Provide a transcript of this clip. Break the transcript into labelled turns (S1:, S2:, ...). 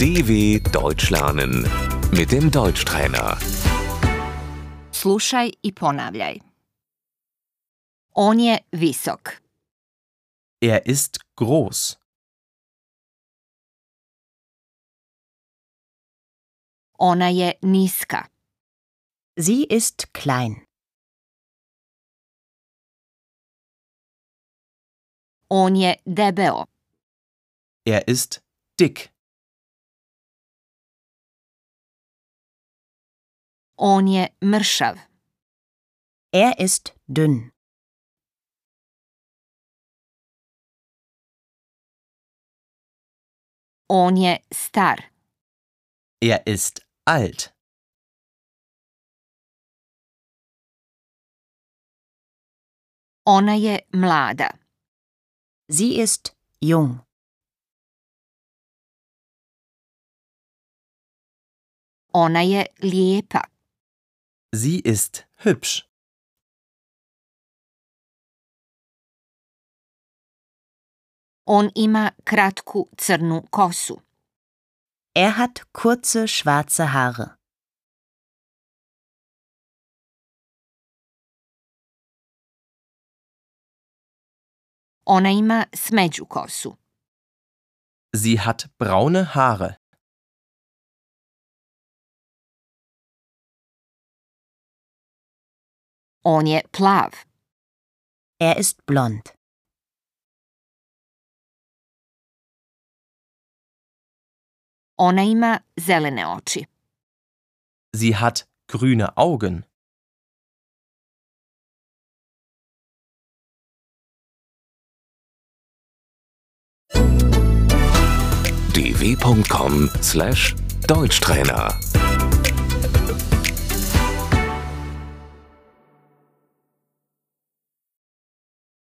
S1: DW Deutsch lernen mit dem Deutschtrainer.
S2: Slušaj i ponavljaj. On je visok.
S3: Er ist groß.
S2: Ona je niska.
S4: Sie ist klein.
S2: On je debeo.
S3: Er ist dick.
S2: On je mršav.
S4: Er ist dünn.
S2: On je star.
S3: Er ist alt.
S2: Ona je mlada.
S4: Sie ist jung.
S2: Ona je lijepa.
S3: Sie ist hübsch.
S2: On ima kratku crnu kosu.
S4: Er hat kurze schwarze Haare.
S2: Ona ima smeđu kosu.
S3: Sie hat braune Haare.
S2: On je plav.
S4: Er ist blond.
S2: Ona ima zelene oči.
S3: Sie hat grüne Augen.
S1: dw.com/deutschtrainer